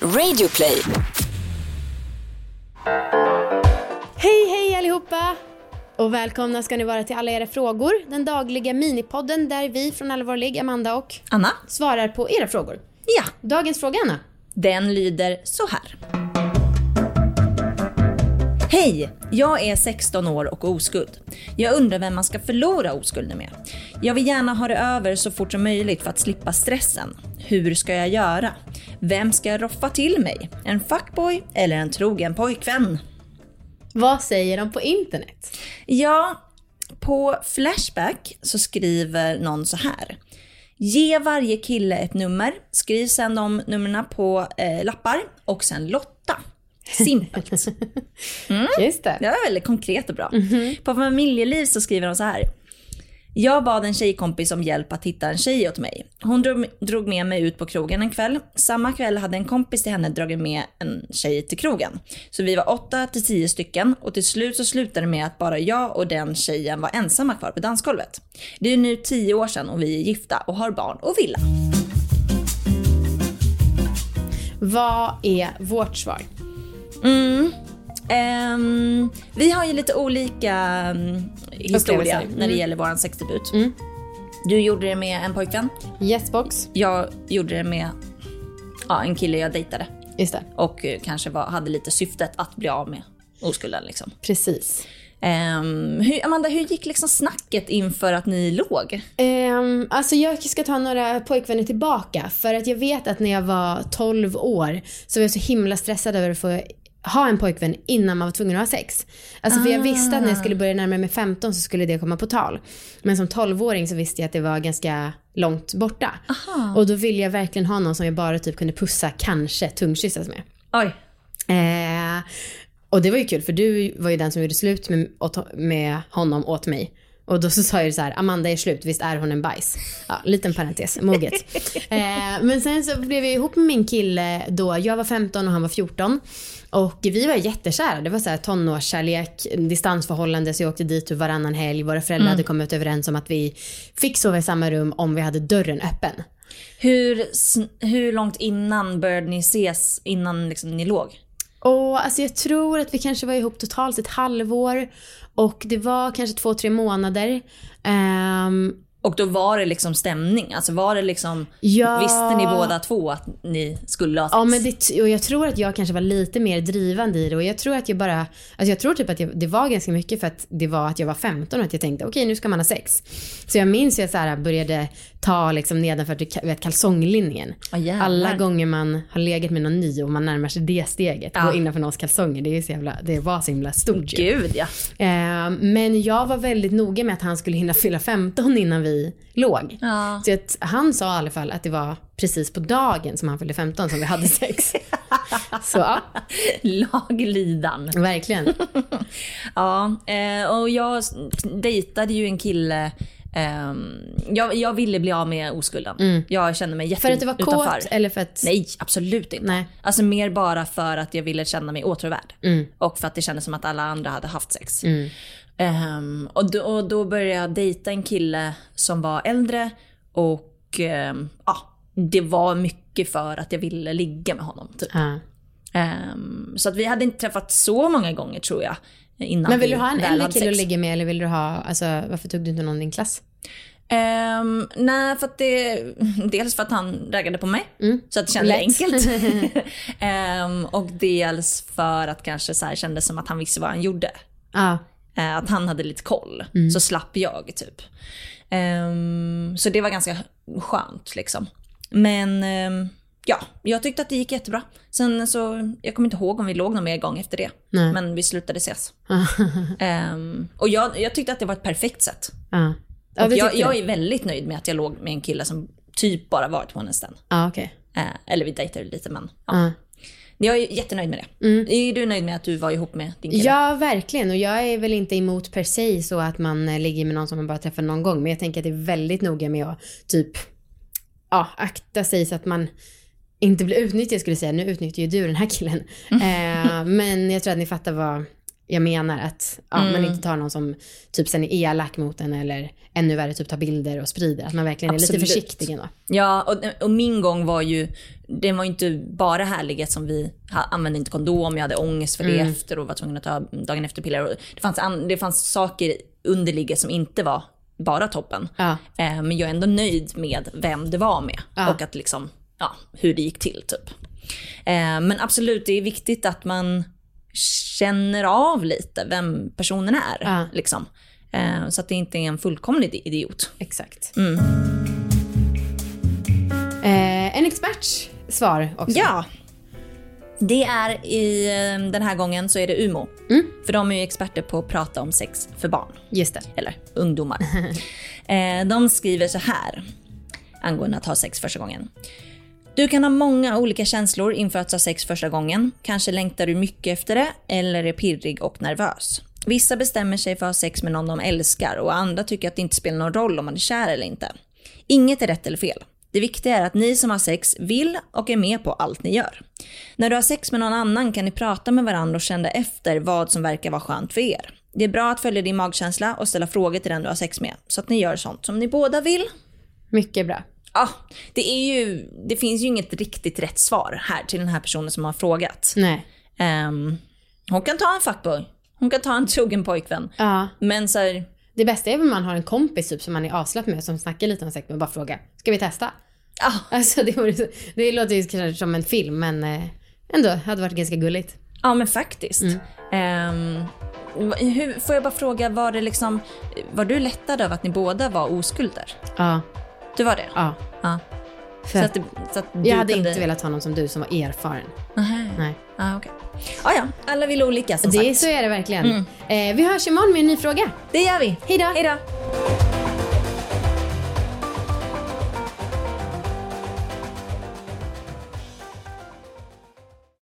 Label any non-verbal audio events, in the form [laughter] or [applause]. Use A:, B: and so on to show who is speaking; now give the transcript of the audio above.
A: Radioplay.
B: Hej hej allihopa! Och välkomna ska ni vara till alla era frågor. Den dagliga minipodden där vi från Allvarlig, Amanda och
C: Anna?
B: svarar på era frågor.
C: Ja.
B: Dagens fråga Anna.
C: Den lyder så här. Hej! Jag är 16 år och oskuld. Jag undrar vem man ska förlora oskulden med. Jag vill gärna ha det över så fort som möjligt för att slippa stressen. Hur ska jag göra? Vem ska jag roffa till mig? En fuckboy eller en trogen pojkvän?
B: Vad säger de på internet?
C: Ja, på Flashback så skriver någon så här. Ge varje kille ett nummer, skriv sedan de numren på eh, lappar och sen lotta. Simpelt.
B: Just det.
C: Det var väldigt konkret och bra. På familjeliv så skriver de så här. Jag bad en tjejkompis om hjälp att hitta en tjej åt mig. Hon drog, drog med mig ut på krogen en kväll. Samma kväll hade en kompis till henne dragit med en tjej till krogen. Så vi var åtta till tio stycken och till slut så slutade det med att bara jag och den tjejen var ensamma kvar på dansgolvet. Det är nu tio år sedan och vi är gifta och har barn och villa.
B: Vad är vårt svar?
C: Mm. Ehm, vi har ju lite olika mm, historia
B: Upplevelser.
C: när det gäller vår sexdebut. Du gjorde det med en pojkvän.
B: Yesbox.
C: Jag gjorde det med ja, en kille jag dejtade
B: Just det.
C: och eh, kanske var, hade lite syftet att bli av med oskulden. Liksom.
B: Precis.
C: Ehm, hur, Amanda, hur gick liksom snacket inför att ni låg?
B: Ehm, alltså jag ska ta några pojkvänner tillbaka för att jag vet att när jag var 12 år så var jag så himla stressad över att få ha en pojkvän innan man var tvungen att ha sex. Alltså för jag visste att när jag skulle börja närma mig 15 så skulle det komma på tal. Men som 12-åring så visste jag att det var ganska långt borta. Och då ville jag verkligen ha någon som jag bara typ kunde pussa, kanske tungkyssas med.
C: Oj.
B: Eh, och det var ju kul för du var ju den som gjorde slut med, åt, med honom åt mig. Och då så sa jag ju så här, Amanda är slut, visst är hon en bajs? Ja, liten parentes, moget. Eh, men sen så blev jag ihop med min kille då, jag var 15 och han var 14. Och vi var jättekära, det var så här tonårskärlek, distansförhållande, så jag åkte dit typ varannan helg. Våra föräldrar hade kommit överens om att vi fick sova i samma rum om vi hade dörren öppen.
C: Hur, sn- hur långt innan började ni ses innan liksom ni låg?
B: Och alltså jag tror att vi kanske var ihop totalt ett halvår och det var kanske två, tre månader. Ehm,
C: Och då var det liksom stämning? Alltså var det liksom,
B: Ja.
C: Visste ni båda två att ni skulle ha sex?
B: Ah. ja, men det, och jag tror att jag kanske var lite mer drivande i det och jag tror att jag bara, alltså jag tror typ att jag, det var ganska mycket för att det var att jag var 15 och att jag tänkte okej nu ska man ha sex. Så jag minns ju att jag så här började ta liksom nedanför du vet, kalsonglinjen.
C: Ja, jävlar.
B: Alla gånger man har legat med någon ny och man närmar sig det steget,
C: Ja.
B: gå innanför någons kalsonger, det, är ju så jävla, det var så himla stort ju.
C: Gud ja.
B: Eh, men jag var väldigt noga med att han skulle hinna fylla 15 innan vi låg.
C: [laughs] Ja.
B: Så att han sa i alla fall att det var precis på dagen som han fyllde 15 som vi hade sex.
C: [laughs]
B: Så ja,
C: Laglidan.
B: verkligen.
C: Ja, eh, och jag s- dejtade ju en kille ehm, jag, jag ville bli av med oskulden. Jag kände mig
B: Mm. För att det var kåt
C: jätteutanför.
B: eller för att...
C: Nej, absolut inte.
B: Nej. Mm.
C: Alltså mer bara för att jag ville känna mig åtråvärd. Och för att det kändes som att alla andra hade haft sex. Ehm, och, då, och då började jag dejta en kille som var äldre och ehm, ja, det var mycket för att jag ville ligga med honom. Typ.
B: Ja.
C: Ehm, så att vi hade inte träffats så många gånger tror jag. Innan
B: Men vill
C: vi
B: du ha en
C: väl
B: äldre
C: hade
B: kille
C: sex.
B: att ligga med eller vill du ha, alltså varför tog du inte någon i din klass?
C: Ehm, nej, för att det, dels för att han raggade på mig,
B: Mm.
C: så att det kändes
B: Lätt.
C: enkelt.
B: [laughs]
C: Ehm, och dels för att kanske så här kändes som att han visste vad han gjorde.
B: Ja. [laughs]
C: Eh, att han hade lite koll,
B: Mm.
C: så slapp jag typ. Ehm, så det var ganska skönt liksom. Men ehm, ja, jag tyckte att det gick jättebra. Sen så, jag kommer inte ihåg om vi låg någon mer gång efter det.
B: Nej.
C: Men vi slutade ses. Ehm, och jag, jag tyckte att det var ett perfekt sätt.
B: Ja, ja
C: Och
B: det
C: jag,
B: tyckte
C: jag
B: du?
C: är väldigt nöjd med att jag låg med en kille som typ bara varit på honesten.
B: Ja, okej.
C: Eh, eller vi dejtade lite men. Ja.
B: Ja.
C: Jag är jättenöjd med det.
B: Mm.
C: Är du nöjd med att du var ihop med din kille?
B: Ja, verkligen. Och jag är väl inte emot per se så att man eh, ligger med någon som man bara träffar någon gång. Men jag tänker att det är väldigt noga med att typ ja, akta sig så att man
C: Mm.
B: inte blir utnyttjad skulle jag säga. Nu utnyttjar ju du den här killen. Eh, men jag tror att ni fattar vad jag menar. Att ja, man
C: Mm.
B: inte tar någon som typ sen är elak mot en eller ännu värre typ tar bilder och sprider. Att man verkligen är
C: Absolut.
B: lite försiktig ändå.
C: Ja, och, och min gång var ju, det var ju inte bara härlighet som vi ha, använde inte kondom, jag hade ångest för
B: Mm.
C: det efter och var tvungen att ta dagen efter-piller. Och Det fanns, an, det fanns saker underligget som inte var bara toppen.
B: Ja.
C: Eh, men jag är ändå nöjd med vem det var med
B: Ja.
C: och att liksom, ja, hur det gick till. Typ. Eh, men absolut, det är viktigt att man känner av lite vem personen är.
B: Ja.
C: Liksom. Eh, så att det inte är en fullkomlig idiot.
B: Exakt.
C: Mm.
B: Eh, en experts svar också.
C: Ja. Det är i, eh, den här gången så är det UMO. För de är ju experter på att prata om sex för barn.
B: Just det.
C: Eller ungdomar. eh, de skriver så här angående att ha sex första gången. Du kan ha många olika känslor inför att ha sex första gången. Kanske längtar du mycket efter det eller är pirrig och nervös. Vissa bestämmer sig för att ha sex med någon de älskar och andra tycker att det inte spelar någon roll om man är kär eller inte. Inget är rätt eller fel. Det viktiga är att ni som har sex vill och är med på allt ni gör. När du har sex med någon annan kan ni prata med varandra och känna efter vad som verkar vara skönt för er. Det är bra att följa din magkänsla och ställa frågor till den du har sex med så att ni gör sånt som ni båda vill.
B: Mycket bra.
C: Ja, det, är ju, det finns ju inget riktigt rätt svar här till den här personen som har frågat.
B: Nej.
C: Ehm, hon kan ta en fuckboy, hon kan ta en trogen pojkvän.
B: Ja.
C: Men så här,
B: Det bästa är om man har en kompis typ som man är avslappnad med som snackar lite om sex men bara frågar. Ska vi testa? [laughs]
C: ja,
B: Alltså det, vore, så- det låter ju kanske som en film men eh, ändå hade varit ganska gulligt.
C: ja men faktiskt.
B: Mm.
C: Ehm, va- hur, får jag bara fråga, var, det liksom, var du lättad över att ni båda var oskulder?
B: Ja.
C: Du var det?
B: ja.
C: Ja. Så
B: För att,
C: att, det- så att du
B: jag hade
C: kunde-
B: inte velat ha någon som du som var erfaren.
C: Nähä.
B: Nej.
C: Ah, okay. ah, ja, alla vill olika som
B: Det,
C: sagt.
B: så är det verkligen. Eh, vi hörs imorgon med en ny fråga.
C: Det gör vi.
B: Mm. Hej då.
C: Hej då.